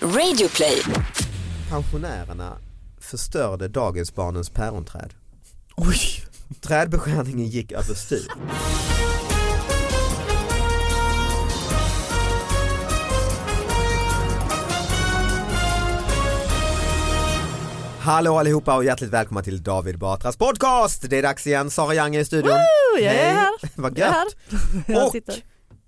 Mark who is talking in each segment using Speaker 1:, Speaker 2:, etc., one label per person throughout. Speaker 1: Radioplay.
Speaker 2: Pensionärerna förstörde dagisbarnens päronträd.
Speaker 3: Oj!
Speaker 2: Trädbeskärningen gick överstyr. Hallå allihopa och hjärtligt välkomna till David Batras podcast! Det är dags igen, Sara Young är i studion.
Speaker 3: jag är
Speaker 2: Hej.
Speaker 3: här.
Speaker 2: Vad
Speaker 3: Jag är
Speaker 2: gött!
Speaker 3: här. Jag
Speaker 2: Och-
Speaker 3: sitter.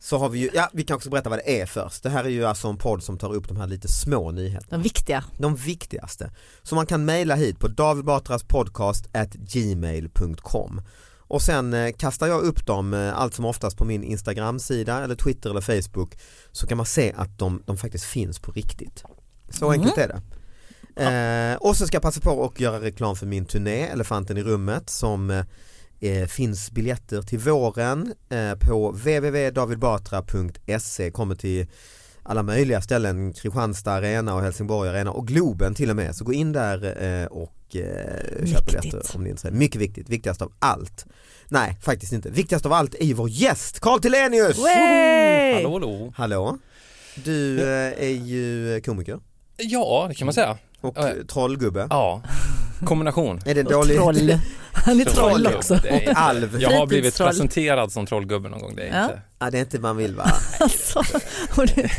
Speaker 2: Så har vi ju, ja vi kan också berätta vad det är först. Det här är ju alltså en podd som tar upp de här lite små nyheterna.
Speaker 3: Den viktiga.
Speaker 2: De viktigaste. Så man kan mejla hit på davidbatraspodcast@gmail.com och sen eh, kastar jag upp dem eh, allt som oftast på min Instagram-sida eller Twitter eller Facebook så kan man se att de, de faktiskt finns på riktigt. Så enkelt är det. Eh, och så ska jag passa på och göra reklam för min turné Elefanten i rummet som eh, eh, finns biljetter till våren eh, på www.davidbatra.se kommer till alla möjliga ställen, Kristianstad arena och Helsingborg arena och Globen till och med. Så gå in där eh, och eh, köp
Speaker 3: Viktigt.
Speaker 2: biljetter om ni är intresserade. Mycket viktigt, viktigast av allt. Nej, faktiskt inte. Viktigast av allt är ju vår gäst Carl Tilenius!
Speaker 3: Way!
Speaker 4: Hallå, hallå.
Speaker 2: Hallå, du eh, är ju komiker
Speaker 4: Ja, det kan man säga.
Speaker 2: och
Speaker 4: Ja,
Speaker 2: eh, trollgubbe.
Speaker 4: Ja, kombination.
Speaker 2: Är det en
Speaker 3: Och
Speaker 2: dålig?
Speaker 3: troll. Han är troll också.
Speaker 4: Det är-
Speaker 2: Alv.
Speaker 4: Jag har blivit
Speaker 3: Fritidstroll.
Speaker 4: presenterad som trollgubbe någon gång, det är
Speaker 3: Ja.
Speaker 4: inte.
Speaker 2: Ja, det är inte man vill va?
Speaker 3: Alltså, och det,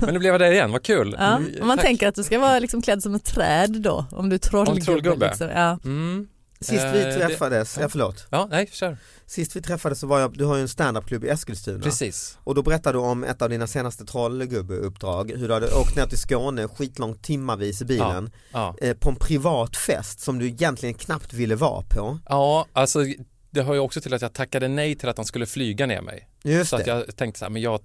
Speaker 4: Men nu blev jag det igen, vad kul. Mm.
Speaker 3: ja. Om man tänker att du ska vara liksom klädd som ett träd då, om du är trollgubbe.
Speaker 4: trollgubbe.
Speaker 3: Liksom. Ja.
Speaker 4: Mm.
Speaker 2: Sist
Speaker 4: Eh,
Speaker 2: vi
Speaker 4: det-
Speaker 2: träffades, ja förlåt,
Speaker 4: Ja, nej, kör.
Speaker 2: sist vi träffades så var jag, du har ju en standupklubb i Eskilstuna
Speaker 4: Precis.
Speaker 2: och då berättade du om ett av dina senaste trollgubbeuppdrag, hur du hade åkt ner till Skåne skitlångt timmavis i bilen
Speaker 4: Ja.
Speaker 2: eh, på en privat fest som du egentligen knappt ville vara på.
Speaker 4: ja, alltså det hör ju också till att jag tackade nej till att han skulle flyga ner mig.
Speaker 2: Just
Speaker 4: så att
Speaker 2: det,
Speaker 4: jag tänkte så här, men jag,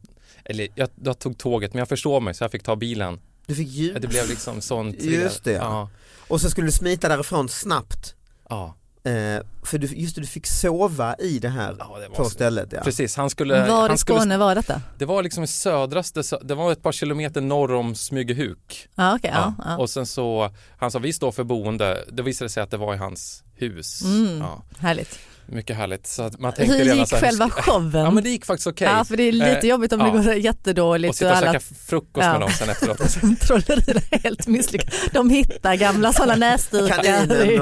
Speaker 4: eller jag, jag tog tåget, men jag förstår mig så jag fick ta bilen.
Speaker 2: du fick ljud
Speaker 4: Det blev liksom sånt.
Speaker 2: Just det, ja.
Speaker 4: Ja,
Speaker 2: och så skulle du smita därifrån snabbt
Speaker 4: ja.
Speaker 2: eh, för du, just det, du fick sova i det här
Speaker 4: ja det var
Speaker 2: på
Speaker 4: så.
Speaker 2: stället ja.
Speaker 4: Precis, han skulle,
Speaker 3: Var i
Speaker 4: han skulle,
Speaker 3: Skåne var detta?
Speaker 4: det var liksom i södraste, sö- det var ett par kilometer norr om Smygehuk.
Speaker 3: Ja, okej.
Speaker 4: Ja.
Speaker 3: ja, ja.
Speaker 4: Och sen så, han sa vi står för boende, det visade sig att det var i hans hus.
Speaker 3: Mm.
Speaker 4: Ja,
Speaker 3: Härligt.
Speaker 4: mycket härligt. Så att man tänkte
Speaker 3: Hur
Speaker 4: redan
Speaker 3: gick
Speaker 4: så här,
Speaker 3: själva
Speaker 4: hur ska-
Speaker 3: showen?
Speaker 4: Ja men det gick faktiskt okej.
Speaker 3: Ja, för det är lite
Speaker 4: Eh,
Speaker 3: jobbigt om
Speaker 4: ja.
Speaker 3: det går jättedåligt.
Speaker 4: och sitta och
Speaker 3: alla-
Speaker 4: käka frukost
Speaker 3: Ja.
Speaker 4: med dem sen efteråt.
Speaker 3: Trollerierna är helt misslyckade. De hittar gamla sådana näsdukar.
Speaker 2: Kaninen,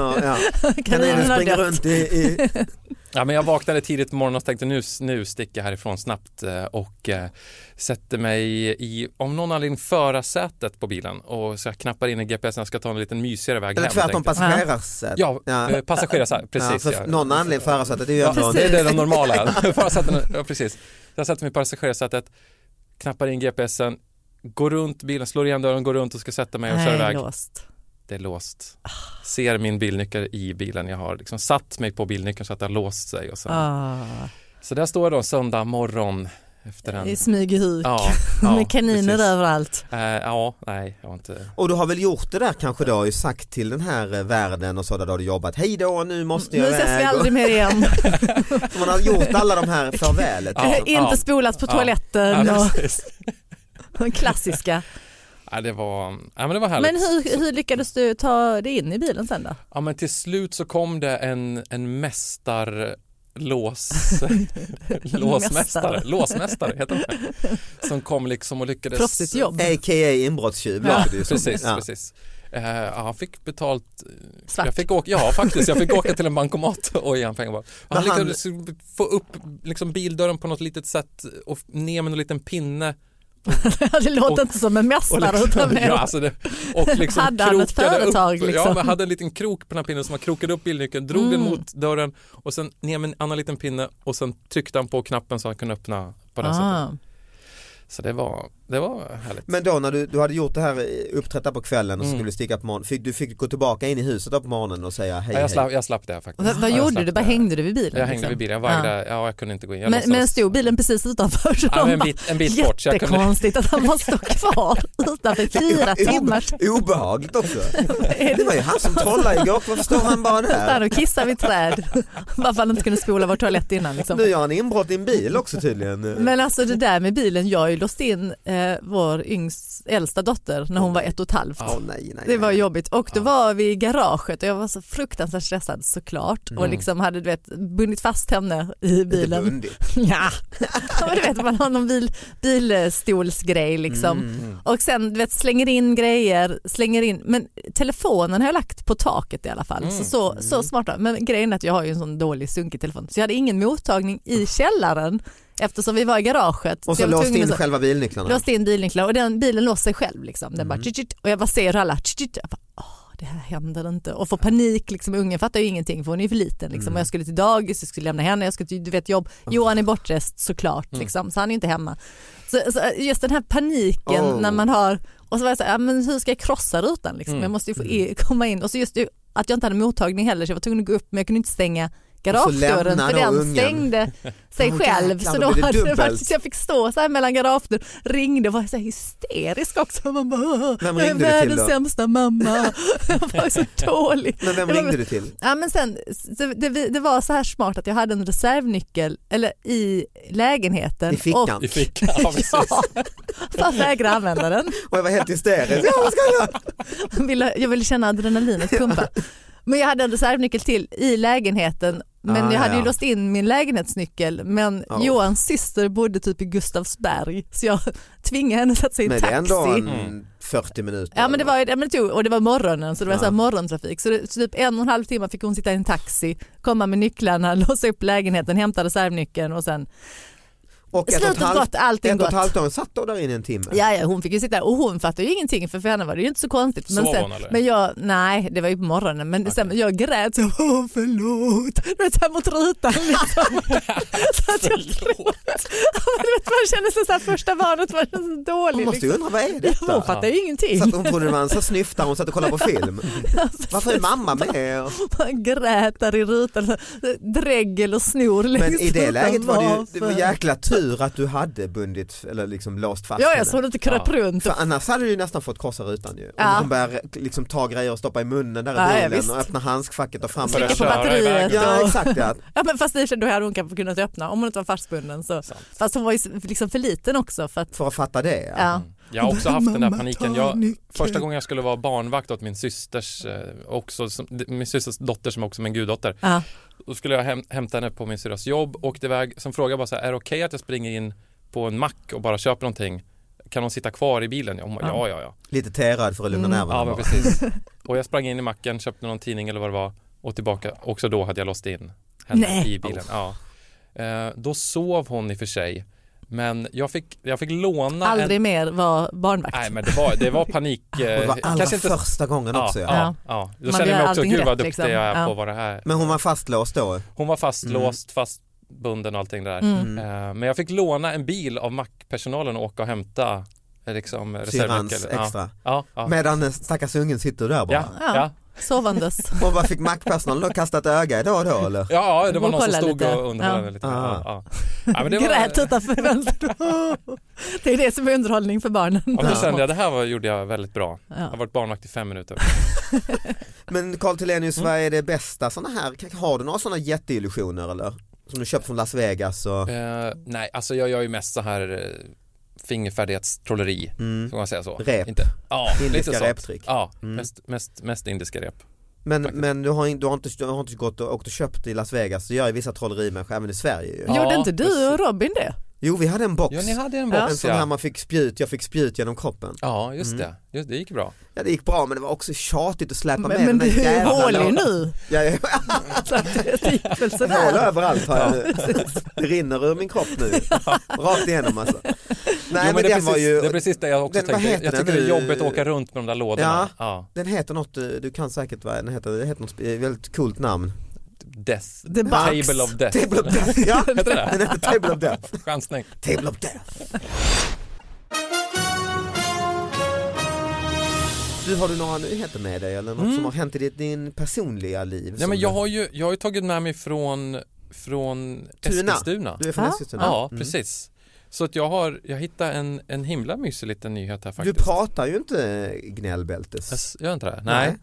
Speaker 2: och, ja. Kaninen
Speaker 3: har
Speaker 2: springer
Speaker 3: dött.
Speaker 2: runt i, i,
Speaker 4: Ja men jag vaknade tidigt på morgonen och tänkte nu, nu sticker jag härifrån snabbt eh, och eh, sätter mig i, om någon anledning, förarsätet på bilen och så jag knappar in i GPSen, jag ska ta en liten mysigare väg
Speaker 2: eller
Speaker 4: hem.
Speaker 2: tvärtom
Speaker 4: tänkte jag.
Speaker 2: passagerarsätet.
Speaker 4: Ja,
Speaker 2: Ja.
Speaker 4: ja. passagerare,
Speaker 2: Ja,
Speaker 4: precis.
Speaker 2: för
Speaker 4: ja.
Speaker 2: någon anledning förarsätet är ju
Speaker 4: Ja,
Speaker 2: ändå
Speaker 4: det är det, de normala. Förarsätena- ja, precis. Jag sätter mig i passagerarsätet, knappar in GPSen, går runt bilen, slår igen dörren, går runt och ska sätta mig och köra
Speaker 3: Nej,
Speaker 4: iväg.
Speaker 3: låst.
Speaker 4: Det är låst. Ser min bilnyckel i bilen. Jag har liksom satt mig på bilnyckeln så att det har låst sig. Och sen.
Speaker 3: Ah.
Speaker 4: Så där står jag då en söndag morgon efter den.
Speaker 5: I smyg i huk
Speaker 4: Ja, ja,
Speaker 5: med kaniner
Speaker 4: precis.
Speaker 5: överallt.
Speaker 4: Eh, ja, nej, jag har inte.
Speaker 2: Och du har väl gjort det där kanske då, har ju sagt till den här eh, världen och så där du har du jobbat, hej då nu måste
Speaker 5: Nu
Speaker 2: jag
Speaker 5: ses vi
Speaker 2: iväg."
Speaker 5: aldrig mer igen.
Speaker 2: Så man har gjort alla de här farvälet. liksom.
Speaker 4: Ja, ja.
Speaker 5: Inte spolat på
Speaker 4: Ja.
Speaker 5: toaletten
Speaker 4: Ja,
Speaker 5: och
Speaker 4: precis.
Speaker 5: de klassiska.
Speaker 4: Ja, det var, ja, men det var härligt.
Speaker 5: Men hur, hur lyckades du ta dig in i bilen sen då?
Speaker 4: Ja, men till slut så kom det en, en mästarlås, låsmästare,
Speaker 5: Mästare.
Speaker 4: låsmästare heter han, som kom liksom och lyckades.
Speaker 5: Proffsigt jobb.
Speaker 2: A.k.a. inbrottstjuv
Speaker 4: Ja,
Speaker 2: låter det ju som.
Speaker 4: precis,
Speaker 2: Ja.
Speaker 4: precis. Eh, ja, han fick betalt, eh,
Speaker 5: Svart.
Speaker 4: jag fick åka, ja faktiskt, jag fick åka till en bankomat och ge han pengar bara. Han
Speaker 2: Men han-
Speaker 4: lyckades få upp liksom bildörren på något litet sätt och ner med en liten pinne.
Speaker 5: Det låter inte som en mästare utan mer.
Speaker 4: ja, alltså det, och liksom
Speaker 5: Hade han ett
Speaker 4: krokade
Speaker 5: företag,
Speaker 4: upp, Ja,
Speaker 5: liksom? Mm.
Speaker 4: men hade en liten krok på den här pinnen som han krokade upp bilnyckeln, drog den mot dörren och sen ner med en annan liten pinne och sen tryckte han på knappen så han kunde öppna på det
Speaker 5: Ah.
Speaker 4: sättet. Så det var, det var härligt.
Speaker 2: Men då när du, du hade gjort det här, eh, uppträtt där på kvällen och så
Speaker 4: Mm.
Speaker 2: skulle du sticka på morgonen, fick, du fick gå tillbaka in i huset då på morgonen och säga hej
Speaker 4: ja, jag,
Speaker 2: hej.
Speaker 4: slapp, jag slapp det faktiskt.
Speaker 5: Vad, vad
Speaker 4: Ja, jag
Speaker 5: gjorde
Speaker 4: slapp
Speaker 5: du? Bara
Speaker 4: det.
Speaker 5: hängde du vid bilen? liksom? Ah.
Speaker 4: Jag hängde vid bilen, jag vägrade, ja. jag kunde inte gå in. Jag
Speaker 5: Men,
Speaker 4: låtsades-
Speaker 5: men stod bilen precis utanför? Så
Speaker 4: ja, men
Speaker 5: de
Speaker 4: en,
Speaker 5: bara,
Speaker 4: bit, en bit bort. Så jag kunde,
Speaker 5: Jättekonstigt att han bara stod kvar utanför fyra timmar.
Speaker 2: Obe- Obehagligt också. Det var ju han som trollade igår, varför står han bara
Speaker 5: Där
Speaker 2: där?
Speaker 5: och kissade vid träd. Varför han inte kunde spola vår toalett innan. Liksom.
Speaker 2: Nu gör han inbrott i en bil också tydligen.
Speaker 5: Men alltså det där med bilen, jag har ju låst in eh, vår yngst, äldsta dotter när hon var ett och ett halvt.
Speaker 2: Åh, nej, nej,
Speaker 5: Det var
Speaker 2: nej.
Speaker 5: jobbigt och då var vi i garaget och jag var så fruktansvärt stressad såklart och liksom hade du vet bundit fast henne i
Speaker 2: Mm. Lite
Speaker 5: bilen.
Speaker 2: bundigt.
Speaker 5: Ja. ja, men du vet man har någon bil, bilstolsgrej liksom.
Speaker 2: Mm.
Speaker 5: Och sen du vet slänger in grejer, slänger in, men telefonen har jag lagt på taket i alla fall. Så,
Speaker 2: Mm.
Speaker 5: så, så smart. då. Men grejen är att jag har ju en sån dålig sunkig telefon så jag hade ingen mottagning i källaren eftersom vi var i garaget.
Speaker 2: Och
Speaker 5: Så
Speaker 2: så
Speaker 5: jag var
Speaker 2: låste
Speaker 5: tvungen
Speaker 2: in
Speaker 5: att-
Speaker 2: själva bilnycklarna.
Speaker 5: låste in bilnycklar och den bilen låste sig själv. Liksom. Den
Speaker 2: Mm.
Speaker 5: bara, tjut, tjut, och jag bara ser hur alla tjut, tjut. Jag bara, Åh, det här händer inte. Och får panik, liksom. ungen fattar ju ingenting för hon är ju för liten. Liksom.
Speaker 2: Mm.
Speaker 5: Och jag skulle till dagis, jag skulle lämna henne, jag skulle till du vet, jobb. Johan är bortrest såklart,
Speaker 2: Mm.
Speaker 5: liksom. så han är inte hemma. Så, så just den här paniken
Speaker 2: Oh.
Speaker 5: när man har, och så var jag så här, ja, men hur ska jag krossa rutan?
Speaker 2: Mm.
Speaker 5: Liksom? Jag måste ju få i, komma in. Och så just det, att jag inte hade mottagning heller så jag var tvungen att gå upp men jag kunde inte stänga garagedörren
Speaker 2: lämnar
Speaker 5: för
Speaker 2: då
Speaker 5: den
Speaker 2: ungen.
Speaker 5: stängde sig
Speaker 2: Åh,
Speaker 5: själv.
Speaker 2: jäklar,
Speaker 5: Så
Speaker 2: då
Speaker 5: då
Speaker 2: blir det
Speaker 5: hade det
Speaker 2: dubbelt.
Speaker 5: faktiskt, jag fick stå så här mellan garagedörren, ringde och var så här hysterisk också. Man bara, "Åh,
Speaker 2: Vem
Speaker 5: jag är
Speaker 2: ringde du till
Speaker 5: världens
Speaker 2: då?
Speaker 5: sämsta mamma. jag var så dålig.
Speaker 2: Men vem
Speaker 5: Det var-
Speaker 2: ringde du till?
Speaker 5: Ja, men sen, så det, det var så här smart att jag hade en reservnyckel eller i lägenheten.
Speaker 2: I fickan.
Speaker 5: Och,
Speaker 4: I fickan, ja, precis.
Speaker 5: ja, fast vägrade använda den.
Speaker 2: Och jag var helt hysterisk. Ja, vad ska jag göra?
Speaker 5: Jag ville, jag ville känna adrenalinet pumpa. Men jag hade en reservnyckel till i lägenheten. Men
Speaker 2: Ah,
Speaker 5: jag hade ju
Speaker 2: ja.
Speaker 5: låst in min lägenhetsnyckel. Men
Speaker 2: Oh.
Speaker 5: Johans syster bodde typ i Gustavsberg. Så jag tvingade henne att sätta sig i en
Speaker 2: Men det
Speaker 5: taxi. Mm.
Speaker 2: är ändå en 40 minuter.
Speaker 5: Ja men det var, ju- ja, men det tog, och det var morgonen så det var
Speaker 2: Ja.
Speaker 5: så här morgontrafik. Så, det, så typ en och en halv timme fick hon sitta i en taxi, komma med nycklarna, låsa upp lägenheten, hämta reservnyckeln och sen
Speaker 2: och ett och ett
Speaker 5: slutet
Speaker 2: halvt,
Speaker 5: gott, allting
Speaker 2: ett och ett
Speaker 5: gott.
Speaker 2: halvt år, satt då där inne en timme.
Speaker 5: Ja, ja, hon fick ju sitta och hon fattade ju ingenting för för henne var det ju inte så konstigt.
Speaker 4: Sov hon, eller?
Speaker 5: men jag, nej det var ju på morgonen men sen, jag grät så åh förlåt, du vet såhär mot rutan liksom. så att jag grät. du vet man känner sig såhär första barnet var så
Speaker 2: Hon
Speaker 5: dålig.
Speaker 2: måste ju
Speaker 5: Liksom.
Speaker 2: undra vad är
Speaker 5: Hon
Speaker 2: detta?
Speaker 5: fattade ju ingenting.
Speaker 2: Så att hon trodde det var en sån snyftare, hon satt och kollade på film. Varför är mamma med?
Speaker 5: Man grät där i rutan, så- dregel och snor liksom. längs
Speaker 2: Men i det
Speaker 5: rutan.
Speaker 2: läget var det ju det var
Speaker 5: Varför?
Speaker 2: jäkla tur att du hade bundit eller liksom låst fast
Speaker 5: Ja,
Speaker 2: henne.
Speaker 5: jag såg det inte kröp runt.
Speaker 2: För annars hade du ju nästan fått korsa rutan ju. Om
Speaker 5: Ja.
Speaker 2: hon börjar liksom ta grejer och stoppa i munnen där i
Speaker 5: Ja, ja,
Speaker 2: bilen
Speaker 5: visst.
Speaker 2: och öppna handskfacket och fram
Speaker 4: Slicka
Speaker 5: Slicka på
Speaker 4: köra iväg.
Speaker 5: batteriet.
Speaker 2: Ja
Speaker 5: och-
Speaker 2: exakt ja.
Speaker 5: Ja men fast i och för sig, då hade hon kanske kunnat öppna om hon inte var fastbunden. Så. Fast hon var ju liksom för liten också för att,
Speaker 2: För att fatta det ja.
Speaker 5: ja.
Speaker 4: Jag har också haft den där paniken. Jag, första gången jag skulle vara barnvakt åt min systers, eh, också, som, d- min systers dotter som också är min guddotter.
Speaker 5: Ja.
Speaker 4: Då skulle jag häm, hämta henne på min syrras jobb, åkte iväg, sen frågade jag bara så här, är det okej att jag springer in på en mack och bara köper någonting? Kan hon sitta kvar i bilen? Ja, hon bara, ja, ja, ja.
Speaker 2: Lite terad för att
Speaker 5: Mm.
Speaker 2: lugna nerverna.
Speaker 4: Ja, men
Speaker 2: bara.
Speaker 4: precis. Och jag sprang in i macken, köpte någon tidning eller vad det var och tillbaka. Också då hade jag låst in henne
Speaker 5: Nej.
Speaker 4: i bilen. Ja. Eh, då sov hon i och för sig, men jag fick, jag fick låna en
Speaker 5: aldrig mer vara barnvakt.
Speaker 4: Nej men det var, det var panik. eh,
Speaker 2: Det var allra
Speaker 4: kanske inte-
Speaker 2: första gången
Speaker 4: ja,
Speaker 2: också ja.
Speaker 4: Ja, ja. Då
Speaker 5: Man
Speaker 4: kände jag
Speaker 5: gör
Speaker 4: mig också,
Speaker 5: allting
Speaker 4: gud vad
Speaker 5: rätt,
Speaker 4: duktig
Speaker 5: liksom.
Speaker 4: jag är på
Speaker 5: Ja.
Speaker 4: att vara här.
Speaker 2: Men hon var fastlåst då?
Speaker 4: Hon var
Speaker 2: Mm.
Speaker 4: fastlåst, fastbunden och allting det där.
Speaker 3: Mm.
Speaker 4: Eh, Men jag fick låna en bil av mackpersonalen och åka och hämta eh, liksom
Speaker 2: Syrrans
Speaker 4: reservnyckeln.
Speaker 2: extra.
Speaker 4: Ja, ja, ja.
Speaker 2: Medan den stackars ungen sitter där bara.
Speaker 4: Ja, ja.
Speaker 3: sovandes.
Speaker 2: Och vad fick mackpersonalen då? Kasta ett öga idag och då eller?
Speaker 4: Ja, det
Speaker 3: Gå
Speaker 4: var
Speaker 3: och
Speaker 4: någon som
Speaker 3: kolla
Speaker 4: stod
Speaker 3: lite.
Speaker 4: och underhöll
Speaker 3: Ja.
Speaker 4: lite.
Speaker 2: Ah.
Speaker 4: Ja, ja. Ja, men det var-
Speaker 3: Grät utanför fönstret. Det är det som är underhållning för barnen.
Speaker 4: Ja, men då kände jag det här var, gjorde jag väldigt bra. Jag har
Speaker 3: Ja.
Speaker 4: varit barnvakt i fem minuter.
Speaker 2: Men Carl Telenius,
Speaker 4: Mm.
Speaker 2: vad är det bästa sådana här? Har du några sådana jätteillusioner eller? Som du köpt från Las Vegas och...
Speaker 4: Eh, nej, alltså jag gör ju mest så här eh, fingerfärdighetstrolleri,
Speaker 2: Mm.
Speaker 4: får man säga så?
Speaker 2: Rep.
Speaker 4: Inte. Ja,
Speaker 2: Indiska
Speaker 4: lite sånt.
Speaker 2: reptrick.
Speaker 4: Ja,
Speaker 2: Mm.
Speaker 4: mest, mest, mest indiska rep.
Speaker 2: Men,
Speaker 4: Faktiskt.
Speaker 2: men du, har, in- du, har inte, du har inte gått och, åkt och köpt i Las Vegas, du gör ju vissa trollerimänniskor även i Sverige ju.
Speaker 4: Ja,
Speaker 3: Gjorde inte du och
Speaker 4: precis.
Speaker 3: Robin det?
Speaker 2: Jo vi hade en box,
Speaker 4: Ja, ni hade en
Speaker 2: en
Speaker 4: box
Speaker 2: sån här Mm.
Speaker 4: ja.
Speaker 2: man fick spjut, jag fick spjut genom kroppen.
Speaker 4: Ja, just det. Just, det gick bra.
Speaker 2: Ja det gick bra men det var också tjatigt att släpa med
Speaker 3: Men, men
Speaker 2: den
Speaker 3: du är ju hålig nu.
Speaker 2: Ja, ja,
Speaker 3: Så att det gick väl
Speaker 4: Alltså,
Speaker 2: jag håller
Speaker 3: sådär.
Speaker 2: överallt har jag nu. Det rinner ur min kropp nu. Rakt igenom alltså. Nej
Speaker 4: jo,
Speaker 2: men,
Speaker 4: men det,
Speaker 2: den
Speaker 4: är precis,
Speaker 2: var ju,
Speaker 4: det är precis det jag också
Speaker 2: den- vad
Speaker 4: tänkte.
Speaker 2: heter
Speaker 4: Jag
Speaker 2: den?
Speaker 4: tycker det är
Speaker 2: Nu-
Speaker 4: jobbigt att åka runt med de där
Speaker 2: Ja.
Speaker 4: lådorna. Ja.
Speaker 2: den heter något, eh, du kan säkert vad den heter, det heter något sp- väldigt coolt namn.
Speaker 4: Death.
Speaker 3: The box.
Speaker 4: Table of death.
Speaker 2: Table of Death, ja
Speaker 4: Heter det?
Speaker 2: den heter Table of Death.
Speaker 4: Chansning.
Speaker 2: Table of Death. Du, har du några nyheter med dig eller något som har hänt i ditt, din personliga liv?
Speaker 4: Mm. Nej,
Speaker 2: som
Speaker 4: men jag
Speaker 2: du-
Speaker 4: har ju, jag har ju tagit med mig från, från
Speaker 2: Tuna.
Speaker 4: Eskilstuna.
Speaker 2: Du är från
Speaker 3: Ja.
Speaker 2: Eskilstuna? Mm.
Speaker 4: Ja, precis. Så att jag har, jag hittade en, en himla mysig liten nyhet här
Speaker 2: Du
Speaker 4: faktiskt.
Speaker 2: pratar ju inte gnällbältes.
Speaker 4: Jag s- Gör jag inte det?
Speaker 2: Nej.
Speaker 4: Nej.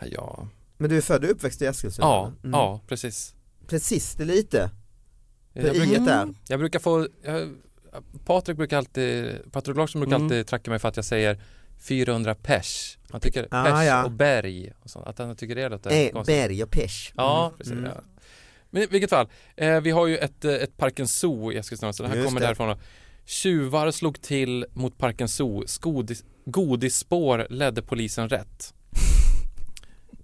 Speaker 4: Ja, ja.
Speaker 2: Men du är född och uppväxt i Eskilstuna?
Speaker 4: ja,
Speaker 2: eller? Mm.
Speaker 4: ja precis.
Speaker 2: Precis, det är lite. På
Speaker 4: Jag, bruk,
Speaker 2: i där.
Speaker 4: jag brukar få, jag, Patrik brukar alltid, Patrik Larsson brukar
Speaker 2: Mm.
Speaker 4: alltid tracka mig för att jag säger 400 pers. Han tycker
Speaker 2: Ah,
Speaker 4: pers
Speaker 2: ja.
Speaker 4: och berg och sånt. Att han tycker det låter
Speaker 2: Eh,
Speaker 4: konstigt.
Speaker 2: berg och pesch.
Speaker 4: Ja,
Speaker 2: Mm.
Speaker 4: precis.
Speaker 2: Mm.
Speaker 4: Ja. Men i vilket fall, eh, vi har ju ett, eh, ett Parkens Zoo i Eskilstuna, så det här
Speaker 2: Just
Speaker 4: kommer
Speaker 2: det.
Speaker 4: därifrån. Då. Tjuvar slog till mot Parkens Zoo, Skodis, godisspår ledde polisen rätt.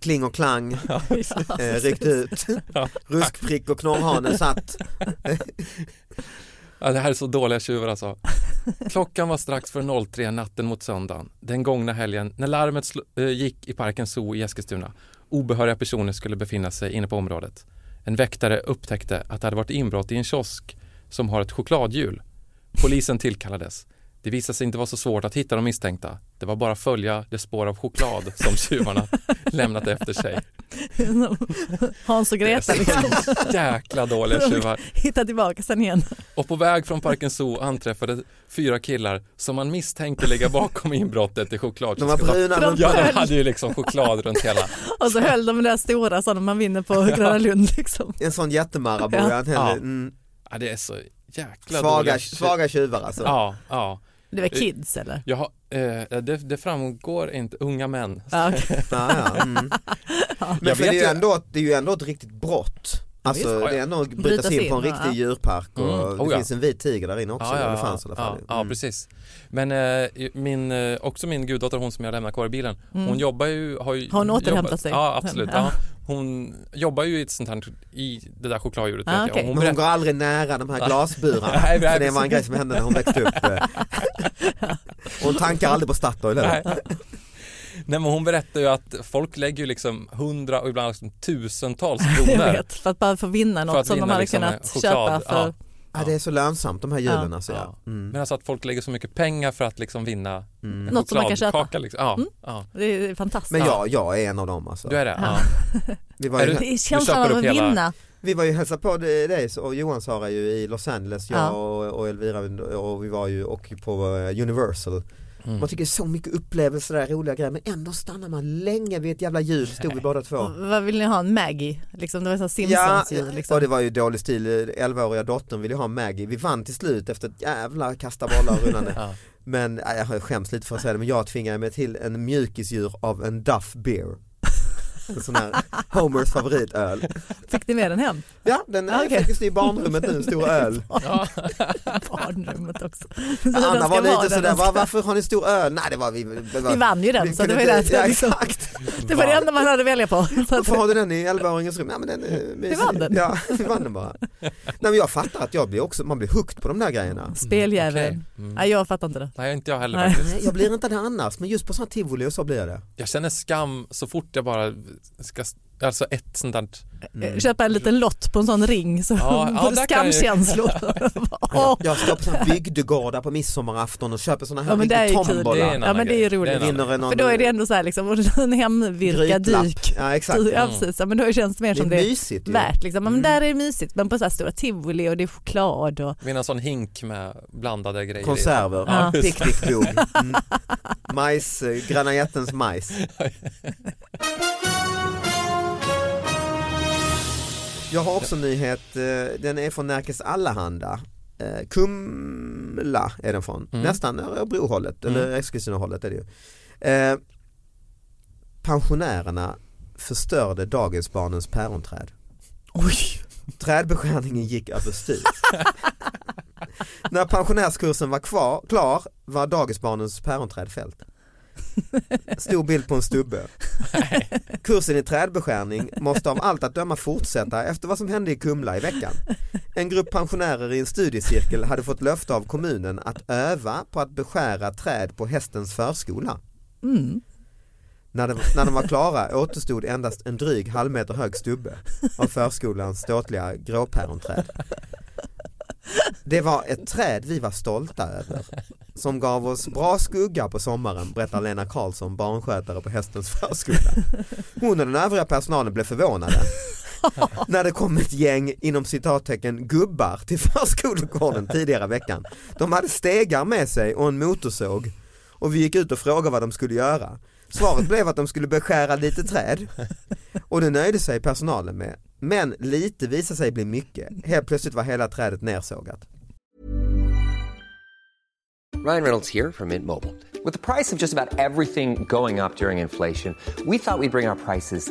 Speaker 2: Kling och klang, eh, ryckt ut.
Speaker 4: Ja.
Speaker 2: Ruskprick och knorrhane satt.
Speaker 4: Ja, det här är så dåliga tjuvar alltså. Klockan var strax för 03 natten mot söndagen den gångna helgen när larmet sl- eh, gick i Parkens Zoo i Eskilstuna. Obehöriga personer skulle befinna sig inne på området. En väktare upptäckte att det hade varit inbrott i en kiosk som har ett chokladhjul. Polisen tillkallades. Det visade sig inte vara så svårt att hitta de misstänkta. Det var bara att följa det spår av choklad som tjuvarna lämnat efter sig.
Speaker 3: Hans och
Speaker 4: Det
Speaker 3: Greta
Speaker 4: är
Speaker 3: liksom.
Speaker 4: så Jäkla dåliga tjuvar.
Speaker 3: Hitta tillbaka sen igen.
Speaker 4: Och på väg från Parken Zoo anträffade fyra killar som man misstänker ligga bakom inbrottet i choklad.
Speaker 2: De var bruna
Speaker 3: De-
Speaker 2: runt
Speaker 4: Ja, de hade ju liksom choklad runt hela.
Speaker 3: Och så höll de det där stora sådana man vinner på Gröna Lund liksom.
Speaker 2: en sån jättemarabou.
Speaker 3: Ja.
Speaker 2: jag tänkte,
Speaker 4: Ja.
Speaker 2: Mm,
Speaker 4: Ja, det är så jäkla
Speaker 2: svaga,
Speaker 4: dåliga-
Speaker 2: svaga tjuvar alltså.
Speaker 4: Ja, ja.
Speaker 3: Det var kids eller?
Speaker 4: Jag har, eh, det, det framgår inte, unga män.
Speaker 3: Ja, okej.
Speaker 2: Ja, ja. Mm. Men för
Speaker 4: Jag
Speaker 2: det, är
Speaker 4: vet
Speaker 2: ju
Speaker 4: ju-
Speaker 2: ändå, det är ju ändå ett riktigt brott. Alltså
Speaker 4: visst.
Speaker 2: det är ändå att bryta sig in på en
Speaker 3: ja.
Speaker 2: riktig djurpark och
Speaker 4: Mm. Oh,
Speaker 2: det
Speaker 4: ja.
Speaker 2: finns en vit tiger där inne också. eller det fanns i alla fall.
Speaker 4: ja,
Speaker 2: Mm.
Speaker 4: precis. Men eh, min, eh, också min guddotter, hon som jag lämnade kvar i bilen, hon jobbar ju... Har, ju,
Speaker 3: Mm. Har hon återhämtat
Speaker 4: jobbat-
Speaker 3: sig?
Speaker 4: Ja, absolut.
Speaker 3: Ja.
Speaker 4: Ja. Hon jobbar ju i ett sånt här, i det där chokladdjuret.
Speaker 3: Ah,
Speaker 4: vet jag.
Speaker 3: okej.
Speaker 4: Och
Speaker 2: Men hon
Speaker 4: berätt-
Speaker 2: går aldrig nära de här glasburarna.
Speaker 4: Nej, nej,
Speaker 2: för det var en
Speaker 4: precis.
Speaker 2: grej som hände när hon växte upp. Och hon tankar aldrig på Statoil. eller?
Speaker 4: Nej. Nej men hon berättar ju att folk lägger ju liksom hundra och ibland liksom tusentals
Speaker 3: Jag
Speaker 4: kronor
Speaker 3: vet, för att bara få vinna något
Speaker 4: för att
Speaker 3: som de
Speaker 4: vinna
Speaker 3: hade
Speaker 4: liksom
Speaker 3: kunnat
Speaker 4: choklad.
Speaker 3: köpa för
Speaker 4: Ja.
Speaker 2: Ja, det är så lönsamt de här hjulen. Alltså, ja.
Speaker 4: Ja. Men alltså att folk lägger så mycket pengar för att liksom vinna
Speaker 2: Mm.
Speaker 4: en
Speaker 3: Något som man kan köpa. Mm.
Speaker 4: chokladkaka liksom. ja, ja.
Speaker 3: Det är fantastiskt.
Speaker 2: Men jag, jag är en av dem. Alltså.
Speaker 4: Du är det? Ja.
Speaker 2: Vi, var
Speaker 4: Är
Speaker 2: ju,
Speaker 4: du-
Speaker 3: det är
Speaker 4: köper
Speaker 3: känslan av
Speaker 4: upp
Speaker 3: att
Speaker 4: hela-
Speaker 3: vinna.
Speaker 2: vi var ju hälsade på dig och Johan Sara ju i Los Angeles, jag
Speaker 3: Ja.
Speaker 2: och, och Elvira och vi var ju och på eh, Universal.
Speaker 3: Mm.
Speaker 2: Man tycker det är så mycket upplevelser där, roliga grejer men ändå stannar man länge vid ett jävla hjul, stod vi båda två.
Speaker 3: Vad vill ni ha? En Maggie? Liksom, det var så här
Speaker 2: Ja,
Speaker 3: Simpsons ljud liksom.
Speaker 2: och det var ju dålig stil. 11-åriga dottern ville ju ha Maggie. Vi vann till slut efter ett jävla kasta bollar och rullande.
Speaker 4: Ja.
Speaker 2: Men äh, jag skäms lite för att säga det, men jag tvingade mig till en mjukisdjur av en Duff Beer. En sån här Homers favoritöl.
Speaker 3: Fick ni med den hem?
Speaker 2: Ja, den är
Speaker 3: Ah, Okej.
Speaker 2: faktiskt i barnrummet nu, en stor öl.
Speaker 4: Ja.
Speaker 3: Barnrummet också. Så den
Speaker 2: Anna
Speaker 3: ska
Speaker 2: var
Speaker 3: vara
Speaker 2: lite
Speaker 3: där
Speaker 2: sådär,
Speaker 3: den ska-
Speaker 2: "Va, varför har ni stor öl? Nej det var vi. Det var,
Speaker 3: Vi vann ju den så det
Speaker 2: kunde
Speaker 3: var ju
Speaker 2: inte-
Speaker 3: det.
Speaker 2: Ja,
Speaker 3: Liksom.
Speaker 2: exakt.
Speaker 3: Det var det enda man hade att välja på. Så att-
Speaker 2: Varför har du den i 11-åringens rum? Ja, men den är mysig.
Speaker 3: vann den.
Speaker 2: Ja, vi vann den bara. Nej men jag fattar att jag blir också, man blir hooked på de där grejerna.
Speaker 3: Speldjävulen.
Speaker 4: Okej. Mm.
Speaker 3: Nej, jag fattar inte det.
Speaker 4: Nej inte jag heller
Speaker 3: Nej.
Speaker 4: faktiskt.
Speaker 2: Nej, jag blir inte det annars, men just på sådana tivoli och så blir jag det.
Speaker 4: Jag känner skam så fort jag bara ska Alltså ett sånt där
Speaker 2: Mm.
Speaker 3: Köpa en liten lott på en sån ring så
Speaker 4: Mm. Ja, ja,
Speaker 3: får du
Speaker 4: där kan jag ju-
Speaker 3: skamkänslor. Åh,
Speaker 2: Jag står på sån här bygdegårdar på midsommarafton och köper såna här
Speaker 3: Ja, men det är ju
Speaker 2: riktigt
Speaker 3: kul.
Speaker 4: Det är
Speaker 2: tombola.
Speaker 4: en
Speaker 3: Ja men det är ju
Speaker 4: grej. Det är
Speaker 3: roligt.
Speaker 4: en annan
Speaker 2: Vinner en någon
Speaker 3: För då är det ändå så här liksom, och en hemvirkad
Speaker 2: grytlapp.
Speaker 3: dyk.
Speaker 2: Ja exakt.
Speaker 3: Ja, precis. Ja, men då känns det mer
Speaker 2: Det är
Speaker 3: som det är
Speaker 2: mysigt ju. Mm.
Speaker 3: värt. Liksom. Ja, men där är det mysigt. Men på så här stora tivoli och det är choklad och
Speaker 4: Med en sån hink med blandade grejer i.
Speaker 2: Konserver,
Speaker 4: Ja.
Speaker 2: ja. picknickbog, mm. majs, eh, Gröna Jättens majs. Jag har också en nyhet, eh, den är från Närkes Allahanda. Eh, Kumla är den från, nästan Örebrohållet eller Eskilstunahållet är det ju. Eh, pensionärerna förstörde dagisbarnens päronträd. Oj. Trädbeskärningen gick överstyr. När pensionärskursen var kvar, klar var dagisbarnens päronträd fällt. Stor bild på en stubbe. Kursen i trädbeskärning måste av allt att döma fortsätta efter vad som hände i Kumla i veckan. En grupp pensionärer i en studiecirkel hade fått löfte av kommunen att öva på att beskära träd på hästens förskola. När, de, när de var klara återstod endast en dryg halvmeter hög stubbe av förskolans ståtliga gråpäronträd. Det var ett träd vi var stolta över som gav oss bra skugga på sommaren berättar Lena Karlsson, barnskötare på hästens förskola. Hon och den övriga personalen blev förvånade när det kom ett gäng inom citattecken gubbar till förskolegården tidigare i veckan. De hade stegar med sig och en motorsåg och vi gick ut och frågade vad de skulle göra. Svaret blev att de skulle beskära lite träd och det nöjde sig personalen med. Men lite visade sig bli mycket. Helt plötsligt var hela trädet nersågat.
Speaker 1: Ryan Reynolds here from Mint Mobile. With the price of just about everything going up during inflation, we thought we'd bring our prices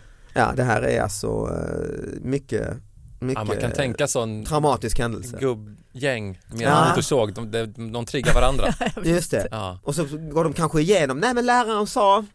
Speaker 2: Ja, det här är alltså eh, mycket, mycket
Speaker 4: Ja, man kan tänka sån
Speaker 2: traumatisk händelse.
Speaker 4: gubbgäng med
Speaker 2: Ja.
Speaker 4: en motorsåg. De, de, de triggar varandra.
Speaker 2: Just det.
Speaker 4: Ja.
Speaker 2: Och så går de kanske igenom, nej men läraren sa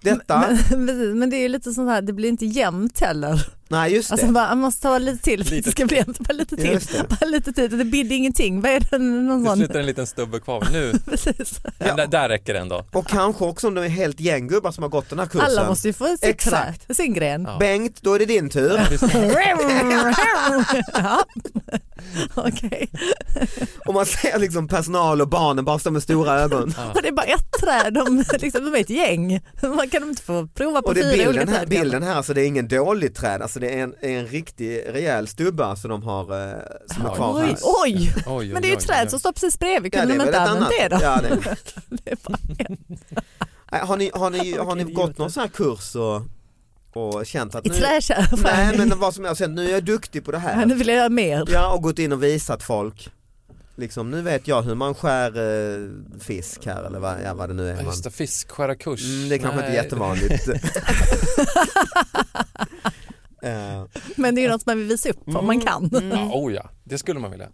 Speaker 2: detta,
Speaker 3: Precis, men det är ju lite sånt här, det blir inte jämnt heller.
Speaker 2: nej just
Speaker 3: Alltså
Speaker 2: det.
Speaker 3: bara, man måste ta lite till för att det ska bli jämnt. Bara lite till.
Speaker 2: Just det.
Speaker 3: Bara lite till. Det bidde ingenting. Vad är det? Någon
Speaker 4: Det
Speaker 3: sån?
Speaker 4: slutar en liten stubbe kvar. Nu,
Speaker 3: Precis.
Speaker 4: ja. där, där räcker det ändå.
Speaker 2: Och kanske också om de är helt gängubbar som har gått den här kursen.
Speaker 3: Alla måste ju få sitt trä,
Speaker 2: Exakt.
Speaker 3: sin gren.
Speaker 4: Ja.
Speaker 2: Bengt, då är det din tur.
Speaker 3: Ja. Okej.
Speaker 2: Och man ser liksom personal och barnen bara står med stora ögon.
Speaker 3: Och det är bara ett träd, de, liksom, de är ett gäng. Man kan de inte få prova på
Speaker 2: Och det
Speaker 3: fyra
Speaker 2: är
Speaker 3: olika
Speaker 2: bilden här,
Speaker 3: träd?
Speaker 2: bilden här, alltså det är ingen dålig träd, alltså det är en, en riktig rejäl stubba som de har eh, som är kvar
Speaker 3: Oj,
Speaker 2: här.
Speaker 3: oj.
Speaker 4: Oj, oj,
Speaker 3: Men det är ju
Speaker 4: oj,
Speaker 3: träd
Speaker 4: oj.
Speaker 3: som står precis bredvid,
Speaker 2: Ja,
Speaker 3: kunde de
Speaker 2: väl
Speaker 3: inte
Speaker 2: ett
Speaker 3: använda det då?
Speaker 2: annat. Ja, det är-
Speaker 3: Det är bara en.
Speaker 2: Nej, Har ni, har ni, har ni
Speaker 3: Vilken
Speaker 2: gått
Speaker 3: idiot.
Speaker 2: någon sån här kurs och, och känt att
Speaker 3: I
Speaker 2: nu,
Speaker 3: träkärr.
Speaker 2: nej, men vad som helst, känt, nu är jag duktig på det
Speaker 3: Ja, nu
Speaker 2: här.
Speaker 3: vill jag göra mer.
Speaker 2: Ja, och gått in och visat folk. Liksom, nu vet jag hur man skär eh, fisk här eller vad, ja, vad det nu är.
Speaker 4: Ja,
Speaker 2: Man.
Speaker 4: Just det, fiskskärarkurs.
Speaker 2: Mm, det är kanske inte
Speaker 4: Nej.
Speaker 2: jättevanligt. Eh,
Speaker 3: Men det är ju något man vill visa upp om man kan.
Speaker 4: Ja, oh ja, det skulle man vilja.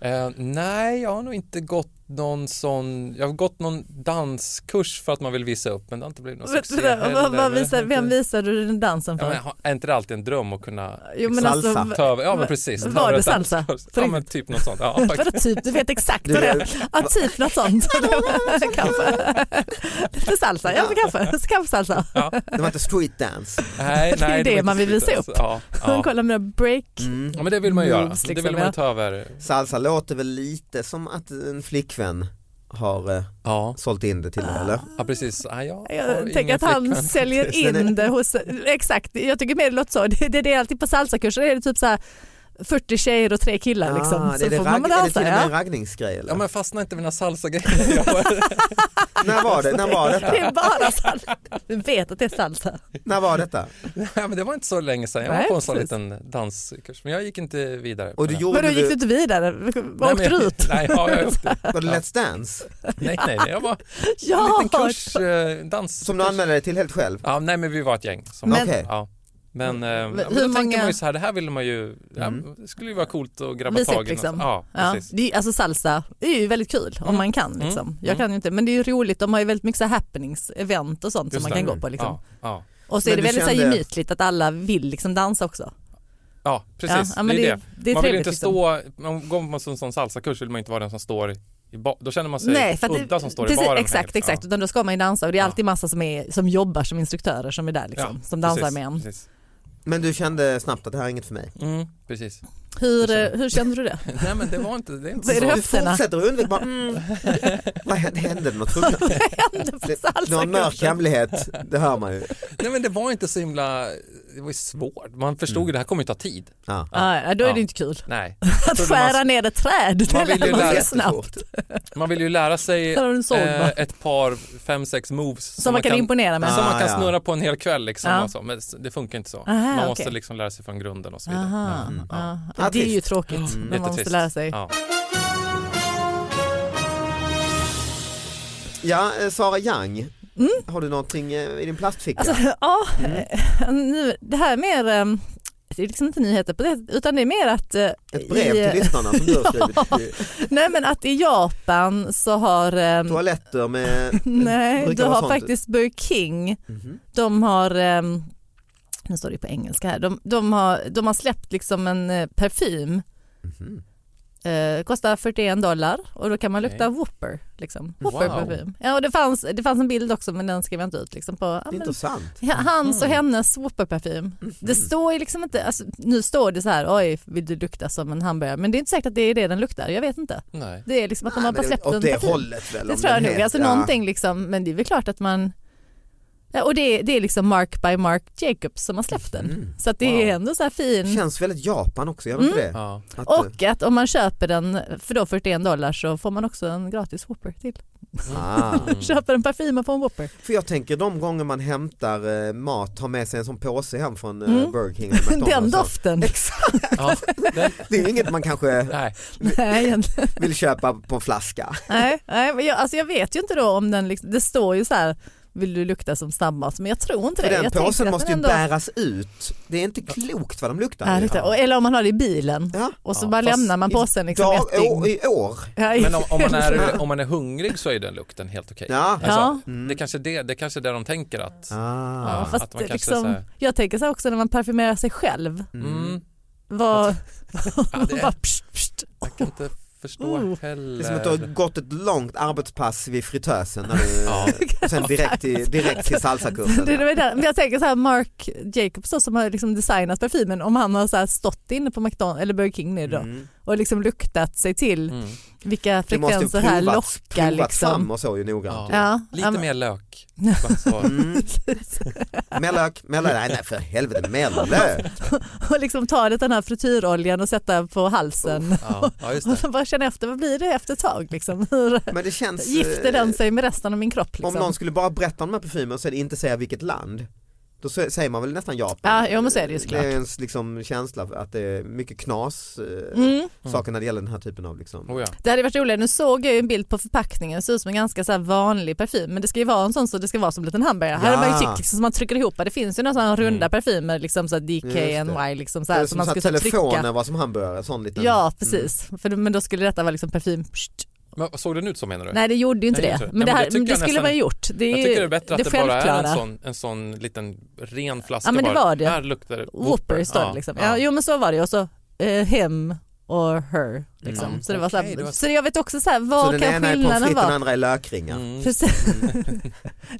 Speaker 4: Eh, nej, jag har nog inte gått någon sån, jag har gått någon danskurs för att man vill visa upp men det har inte blivit någon
Speaker 3: Vet
Speaker 4: succé
Speaker 3: du det?
Speaker 4: heller.
Speaker 3: Vad- vad visar-
Speaker 4: Inte-
Speaker 3: Vem visade du den dansen
Speaker 4: Ja, men,
Speaker 3: för?
Speaker 4: har- är inte det alltid en dröm att kunna
Speaker 3: Jo, men
Speaker 2: Salsa.
Speaker 3: alltså,
Speaker 4: ta över? Ja men precis. ta
Speaker 3: Var
Speaker 4: över
Speaker 3: det
Speaker 4: ett
Speaker 3: salsa?
Speaker 4: dansgolv.
Speaker 3: På
Speaker 4: Ja
Speaker 3: riktigt?
Speaker 4: men typ något sånt. Ja,
Speaker 3: Vadå
Speaker 4: faktiskt.
Speaker 3: typ, du vet exakt
Speaker 2: Du
Speaker 3: vad det är.
Speaker 2: vet.
Speaker 3: Ja, typ något sånt. kanske. Lite salsa, ja men kanske. Så kanske salsa.
Speaker 2: det var inte street dance.
Speaker 4: nej,
Speaker 3: det är ju
Speaker 4: var
Speaker 3: det
Speaker 4: inte
Speaker 3: man vill
Speaker 4: slut,
Speaker 3: visa
Speaker 4: alltså.
Speaker 3: upp.
Speaker 4: Ja, ja.
Speaker 3: Kolla mina break.
Speaker 4: ja men det vill man ju göra.
Speaker 3: Moves,
Speaker 4: Det
Speaker 3: liksom,
Speaker 4: vill man
Speaker 3: ja.
Speaker 4: ju ta över.
Speaker 2: Salsa låter väl lite som att en flickvän har eh,
Speaker 4: Ja,
Speaker 2: sålt in det till den eller?
Speaker 4: ja precis. Ja, jag har
Speaker 3: Jag tänker
Speaker 4: ingen
Speaker 3: att han
Speaker 4: flickvän.
Speaker 3: säljer in det hos, exakt, jag tycker mer det låter så, det, det, det är alltid på salsakurser är det typ så här 40 tjejer och tre killar liksom.
Speaker 2: Ah, det är,
Speaker 3: så
Speaker 2: det
Speaker 3: får
Speaker 2: ragg,
Speaker 3: man
Speaker 2: är det
Speaker 3: dansa.
Speaker 2: till och med en
Speaker 3: Ja.
Speaker 2: raggningsgrej eller?
Speaker 4: Ja, men jag fastnar inte med mina salsagrejer. Jag bara-
Speaker 2: när, var det, när var
Speaker 3: Det är
Speaker 2: detta?
Speaker 3: bara salsa. Du vet att det är salsa.
Speaker 2: när var detta?
Speaker 4: Nej, men det var inte så länge sedan. Jag var
Speaker 3: Nej,
Speaker 4: på en sån
Speaker 3: precis.
Speaker 4: liten danskurs, men jag gick inte vidare. på
Speaker 2: Och du
Speaker 4: den.
Speaker 2: gjorde
Speaker 3: Men då gick du
Speaker 2: det,
Speaker 3: inte vidare?
Speaker 4: Nej,
Speaker 3: Åkte
Speaker 4: men
Speaker 3: du
Speaker 4: jag-
Speaker 3: ut?
Speaker 4: Nej, ja, jag åkte.
Speaker 2: var det Let's Dance?
Speaker 4: nej, nej, nej, jag var
Speaker 3: Ja,
Speaker 4: en liten kurs, eh, dans.
Speaker 2: Som du anmälde dig till helt själv?
Speaker 4: Ja, nej, men vi var ett gäng. Som
Speaker 2: Men- Okej.
Speaker 4: ja. Men, eh, ja, men
Speaker 3: hur
Speaker 4: då tänker
Speaker 3: många-
Speaker 4: man ju så här, det här ville man ju, ja,
Speaker 2: Mm.
Speaker 4: det skulle ju vara coolt att grabba
Speaker 3: Visa upp
Speaker 4: tag i. något.
Speaker 3: liksom.
Speaker 4: Ja,
Speaker 3: Ja,
Speaker 4: precis.
Speaker 3: det är, alltså salsa det är ju väldigt kul
Speaker 2: Mm.
Speaker 3: om man kan. Liksom. Jag kan ju inte, men det är ju roligt, de har ju väldigt mycket så här happenings, event och sånt
Speaker 4: Just
Speaker 3: som
Speaker 4: det.
Speaker 3: man kan gå på. Liksom.
Speaker 4: Ja, ja.
Speaker 3: Och så
Speaker 2: Men
Speaker 3: är det
Speaker 2: du
Speaker 3: väldigt så här
Speaker 2: kände-
Speaker 3: gemytligt att alla vill liksom dansa också.
Speaker 4: Ja, precis.
Speaker 3: Ja, ja, men
Speaker 4: det är
Speaker 3: det-
Speaker 4: det.
Speaker 3: det är
Speaker 4: man vill
Speaker 3: trevligt,
Speaker 4: inte
Speaker 3: liksom.
Speaker 4: stå, man går man på en sån salsakurs vill man inte vara den som står i ba- Då känner man sig
Speaker 3: det-
Speaker 4: Alltså, udda som står
Speaker 3: precis,
Speaker 4: i baren.
Speaker 3: Exakt,
Speaker 4: Ja.
Speaker 3: exakt. Utan då ska man ju dansa och det är alltid massa som, är, som jobbar som instruktörer som är där liksom,
Speaker 4: Ja,
Speaker 3: som dansar
Speaker 4: precis,
Speaker 3: med en.
Speaker 4: Precis.
Speaker 2: Men du kände snabbt att det här är inget för mig?
Speaker 4: Mm, precis.
Speaker 3: Hur, eh, hur kände du det?
Speaker 4: Nej men det var inte, det är inte
Speaker 3: Vad är
Speaker 4: så.
Speaker 3: det
Speaker 2: Du
Speaker 3: höfterna?
Speaker 2: fortsätter att undvika bara, mm. Vad hände, hände det något? fruktansvärt?
Speaker 3: hände på
Speaker 2: Du har en mörk
Speaker 3: salsakursen?
Speaker 2: hemlighet, det hör man ju.
Speaker 4: Nej men det var inte så himla, det var ju svårt. Man förstod ju det här kommer ju ta tid.
Speaker 2: Ja.
Speaker 3: Ja, ja, då är
Speaker 4: Ja.
Speaker 3: det inte kul.
Speaker 4: Nej.
Speaker 3: Att
Speaker 4: Trodde
Speaker 3: skära
Speaker 4: man,
Speaker 3: ner ett träd, det
Speaker 4: Man vill ju
Speaker 3: lär man sig
Speaker 4: lära sig
Speaker 3: snabbt.
Speaker 4: man vill ju lära sig eh,
Speaker 3: Där har du en såg, va?
Speaker 4: ett par, fem, sex moves som,
Speaker 3: man kan imponera med.
Speaker 4: Som man kan
Speaker 2: Ah, ja.
Speaker 4: snurra på en hel kväll liksom.
Speaker 3: Ja.
Speaker 4: Och så. Men det funkar inte så.
Speaker 3: Aha,
Speaker 4: man
Speaker 3: okej.
Speaker 4: måste liksom lära sig från grunden och så Mm, vidare.
Speaker 3: Aha, ja.
Speaker 2: Ja,
Speaker 3: Det är ju
Speaker 2: trist.
Speaker 3: tråkigt när man måste
Speaker 4: Jättetrist.
Speaker 3: lära sig.
Speaker 4: Mm, Ja.
Speaker 2: Ja, eh, Sara Young, har du någonting eh, i din plastficka?
Speaker 3: Mm? Alltså, ja,
Speaker 4: Mm.
Speaker 3: eh, nu, det här är mer, eh, det är liksom inte nyheter på det, utan det är mer att, eh,
Speaker 2: Ett brev
Speaker 3: i-
Speaker 2: till lyssnarna som du har skrivit.
Speaker 3: nej, men att i Japan så har, eh,
Speaker 2: Toaletter med...
Speaker 3: nej,
Speaker 2: brukar
Speaker 3: du
Speaker 2: vara
Speaker 3: har
Speaker 2: sånt.
Speaker 3: faktiskt Burger King,
Speaker 2: Mhm.
Speaker 3: de har, eh, nu står det ju på engelska här, de, de, har, de har släppt liksom en eh, parfym,
Speaker 2: Mhm.
Speaker 3: eh, kostar 41 dollar och då kan man lukta Whopper. Liksom. Whopper
Speaker 4: Wow.
Speaker 3: parfym. Ja, och det, fanns, det fanns en bild också men den skrev jag inte ut. Liksom, på, ja, men,
Speaker 2: Intressant.
Speaker 3: Ja, hans och hennes whopperparfym. Det
Speaker 2: Mhm.
Speaker 3: står ju liksom inte, alltså, nu står det så här, oj vill du lukta som en hamburgare, men det är inte säkert att det är det den luktar, jag vet inte.
Speaker 4: Nej.
Speaker 3: Det är liksom att de har
Speaker 2: Men
Speaker 3: bara
Speaker 2: det-
Speaker 3: släppt en
Speaker 2: Åt det
Speaker 3: parfym.
Speaker 2: hållet väl?
Speaker 3: Det
Speaker 2: om
Speaker 3: tror jag
Speaker 2: den
Speaker 3: nog,
Speaker 2: heter-
Speaker 3: alltså
Speaker 2: ja.
Speaker 3: någonting liksom, men det är väl klart att man Ja, och det, det är liksom Mark by Mark Jacobs som har släppt den.
Speaker 2: Mm.
Speaker 3: Så att det är ändå så här
Speaker 2: Det
Speaker 3: fin.
Speaker 2: känns väldigt Japan också, gör det inte det?
Speaker 4: Ja.
Speaker 2: Att, eh,
Speaker 3: Mm. Och att om man köper den för då 41 dollar så får man också en gratis Whopper till.
Speaker 2: ah.
Speaker 3: Köper en parfym och får en Whopper.
Speaker 2: För jag tänker de gånger man hämtar eh, mat, tar med sig en sån påse hem från eh, Burger King eller McDonald's.
Speaker 3: Mm. Den doften.
Speaker 2: Exakt,
Speaker 4: Ja. det-
Speaker 2: det är ju inget man kanske
Speaker 4: Nej.
Speaker 3: Nej, egentligen.
Speaker 2: vill köpa på en flaska.
Speaker 3: Nej, nej men jag, alltså jag vet ju inte då om den, liksom, det står ju så här vill du lukta som snabbmat men jag tror inte
Speaker 2: För
Speaker 3: det.
Speaker 2: den
Speaker 3: jag tänker
Speaker 2: påsen
Speaker 3: att
Speaker 2: måste ju
Speaker 3: den ändå-
Speaker 2: bäras ut. Det är inte klokt vad de luktar.
Speaker 3: Ja, det är klart. Och- Eller om man har det i bilen
Speaker 2: Ja.
Speaker 3: och så
Speaker 4: Ja,
Speaker 3: bara
Speaker 2: Fast
Speaker 3: lämnar man
Speaker 2: i
Speaker 3: påsen liksom
Speaker 2: dag,
Speaker 3: ett dygn.
Speaker 2: å- I år.
Speaker 3: Ja, i-
Speaker 4: Men om, om, man är, om man är hungrig så är den lukten helt okej.
Speaker 2: Ja. Mm.
Speaker 3: Ja.
Speaker 4: Alltså, det, kanske är det, det kanske är det de tänker att,
Speaker 2: Ah.
Speaker 3: Ja, fast
Speaker 4: att man kanske
Speaker 3: liksom,
Speaker 4: så här-
Speaker 3: Jag tänker så här också när man parfymerar sig själv.
Speaker 4: mm,
Speaker 3: Vad...
Speaker 4: det är-
Speaker 3: bara pst, pst.
Speaker 4: jag kan inte förstå
Speaker 3: Oh.
Speaker 2: Det är som att du har
Speaker 4: heller.
Speaker 2: gått ett långt arbetspass vid fritösen när du,
Speaker 4: Ja.
Speaker 2: och sen direkt till, direkt till salsakursen.
Speaker 3: Det, det var där. Men jag tänker så här Mark Jacobs då, som har liksom designat parfymen om han har så här stått inne på McDonald's eller Burger King nu då
Speaker 4: Mm.
Speaker 3: och liksom luktat sig till vilka
Speaker 2: Det måste ju
Speaker 3: frekvenser här
Speaker 2: provats-
Speaker 3: lockar
Speaker 2: provats
Speaker 3: liksom.
Speaker 2: fram och så ju noggrant.
Speaker 4: Ja.
Speaker 3: Ja,
Speaker 4: Lite
Speaker 3: ja, men-
Speaker 4: mer lök. Bara så.
Speaker 2: Mm. Mellök, mellök, nej, nej för helvete mellök.
Speaker 3: och liksom ta lite den här frityroljan och sätta på halsen.
Speaker 4: Ja, ja, just
Speaker 3: Och
Speaker 4: det.
Speaker 3: så bara känna efter, vad blir det efter ett tag liksom? Hur
Speaker 2: Men det känns... eh,
Speaker 3: gifter den sig med resten av min kropp liksom?
Speaker 2: Om någon skulle bara berätta om de här parfymerna och sen inte säga vilket land, då sä- säger man väl nästan Japan?
Speaker 3: Ja, jo, men så är det ju såklart.
Speaker 2: Det är ens liksom känsla för att det är mycket knas eh,
Speaker 3: Mm.
Speaker 2: saker när det gäller den här typen av liksom.
Speaker 4: Oh, ja.
Speaker 3: Det hade varit roligare, nu såg jag ju en bild på förpackningen, det ser ut som en ganska så här vanlig parfym men det ska ju vara en sån så det ska vara som en liten hamburgare. Här
Speaker 2: Ja. Mm.
Speaker 3: har man ju tyckt liksom, som man trycker ihop, det finns ju några sådana runda parfymer liksom så här DKNY liksom så
Speaker 2: Det är
Speaker 3: här,
Speaker 2: som
Speaker 3: som man
Speaker 2: så
Speaker 3: ska
Speaker 2: att
Speaker 3: så här
Speaker 2: telefonen Mm.
Speaker 3: trycka.
Speaker 2: var som hamburgare, sån liten.
Speaker 3: Ja precis, För, men då skulle detta vara liksom parfym. Pst.
Speaker 4: Men, såg den ut så menar du?
Speaker 3: Nej det gjorde ju inte
Speaker 4: Nej,
Speaker 3: det,
Speaker 4: just
Speaker 3: men
Speaker 4: det. Nej,
Speaker 3: det,
Speaker 4: men
Speaker 3: här,
Speaker 4: det
Speaker 3: men
Speaker 4: tycker
Speaker 3: det
Speaker 4: jag
Speaker 3: skulle
Speaker 4: nästan-
Speaker 3: man ju gjort. Det är
Speaker 4: jag
Speaker 3: ju
Speaker 4: tycker det är bättre att det, bara är en
Speaker 3: självklara.
Speaker 4: sån, en sån liten ren flaska
Speaker 3: Ja, men det
Speaker 4: bara.
Speaker 3: var det.
Speaker 4: Här luktar det
Speaker 3: Whopper står det liksom. Ja, jo men så var det och så eh, him or her. Liksom.
Speaker 4: Mm.
Speaker 3: Så, det var så,
Speaker 4: Okej,
Speaker 3: här,
Speaker 4: det var-
Speaker 3: så jag vet också så här,
Speaker 2: Så
Speaker 3: vad
Speaker 2: den
Speaker 3: kan
Speaker 2: ena är pommes
Speaker 3: skillnaden
Speaker 2: frites, den
Speaker 3: vara?
Speaker 2: andra är lökringar.
Speaker 4: Mm.
Speaker 3: Precis.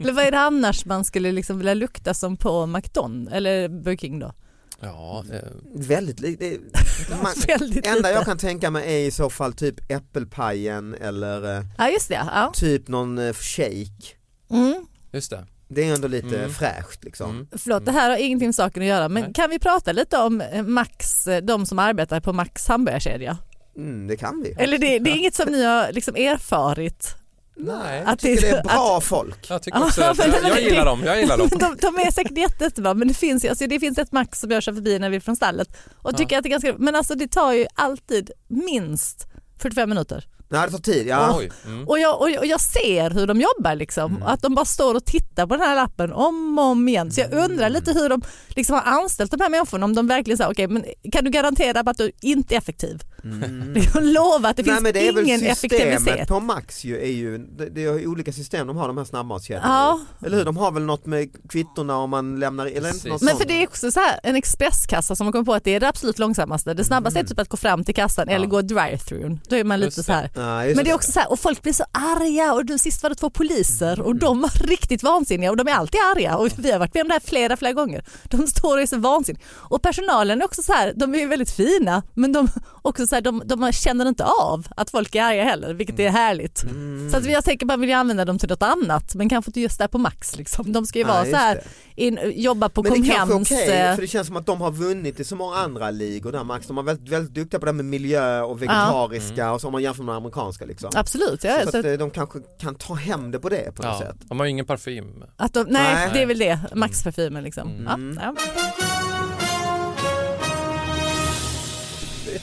Speaker 3: eller vad är det annars man skulle liksom vilja lukta som på McDonald's eller Burger King då?
Speaker 4: Ja, eh,
Speaker 2: Väldigt lite. Man,
Speaker 3: Väldigt
Speaker 2: enda
Speaker 3: lite.
Speaker 2: jag kan tänka mig är i så fall typ äppelpajen eller eh,
Speaker 3: Ja just det, ja.
Speaker 2: typ någon eh, shake.
Speaker 3: Mm.
Speaker 4: just det.
Speaker 2: Det är ändå lite
Speaker 4: Mm.
Speaker 2: fräscht liksom.
Speaker 4: Mm.
Speaker 3: Förlåt, det här har ingenting med saken att göra men
Speaker 4: Nej.
Speaker 3: kan vi prata lite om eh, Max, eh, de som arbetar på Max hamburgerkedja?
Speaker 2: Mm, det kan vi.
Speaker 3: Eller det, det är inget som ni har liksom erfarit?
Speaker 4: Nej.
Speaker 3: Att
Speaker 2: Det är
Speaker 3: att-
Speaker 2: bra folk.
Speaker 4: Jag tycker också att,
Speaker 3: men-
Speaker 4: jag, jag gillar dem, jag gillar dem.
Speaker 3: de, de är säkert jätte- jättebra men det finns, ju- alltså, det finns ett Max som jag kör förbi när vi är från stallet och tycker att det är ganska men alltså det tar ju alltid minst 45 minuter.
Speaker 2: Nej det tar tid, ja.
Speaker 4: Oj. Mm.
Speaker 3: Och jag, och, jag, och jag ser hur de jobbar liksom.
Speaker 2: Mm.
Speaker 3: Och Att de bara står och tittar på den här lappen om och om igen. Så jag
Speaker 2: Mm.
Speaker 3: undrar lite hur de liksom har anställt de här människorna. Om de verkligen säger okej men kan du garantera att du inte är effektiv? Lova att det finns
Speaker 2: Mm. Nej, men det är väl
Speaker 3: ingen
Speaker 2: systemet
Speaker 3: effektivitet.
Speaker 2: på Max ju är ju, det, det är ju olika system de har de här snabbmatskedjorna.
Speaker 3: Ja.
Speaker 2: Eller hur, de har väl något med kvittorna om man lämnar, eller
Speaker 4: Precis.
Speaker 2: inte något
Speaker 3: Men
Speaker 2: sånt.
Speaker 3: för det är också så här, en expresskassa som man kommer på att det är det absolut långsammaste. Det snabbaste är typ att gå fram till kassan eller gå drive-thrun. Då är man
Speaker 4: Just
Speaker 3: lite
Speaker 4: det.
Speaker 3: så här.
Speaker 2: Ja, Mm. just
Speaker 3: Men det är också så här, och folk blir så arga och du, sist var det två poliser och de var riktigt vansinniga och de är alltid arga och vi har varit med om det här flera, flera gånger. De står och är så vansinniga. Och personalen är också så här, de är ju väldigt fina men de, också så här, de, de känner inte av att folk är arga heller vilket
Speaker 2: Mm.
Speaker 3: är härligt. Så att jag tänker bara vill jag använda dem till något annat men kanske inte just där på Max liksom. De ska ju
Speaker 2: Nej,
Speaker 3: vara så
Speaker 2: just
Speaker 3: här,
Speaker 2: det.
Speaker 3: in, jobba på
Speaker 2: Men det är kanske
Speaker 3: Comhems.
Speaker 2: okej,
Speaker 3: eh,
Speaker 2: för det känns som att de har vunnit i så många andra ligor där Max. De är väldigt, väldigt duktiga på det här med miljö och vegetariska
Speaker 4: Mm.
Speaker 2: och så om man jämför med de amerikanska liksom.
Speaker 3: Absolut, ja.
Speaker 2: Så
Speaker 3: Så
Speaker 2: att eh, de kanske kan ta hem det på det på något
Speaker 4: Ja,
Speaker 2: sätt.
Speaker 4: de har ju ingen parfym.
Speaker 3: att de, nej,
Speaker 2: Nej. Mm.
Speaker 3: det är väl det, Max-parfymen liksom. Ja, ja.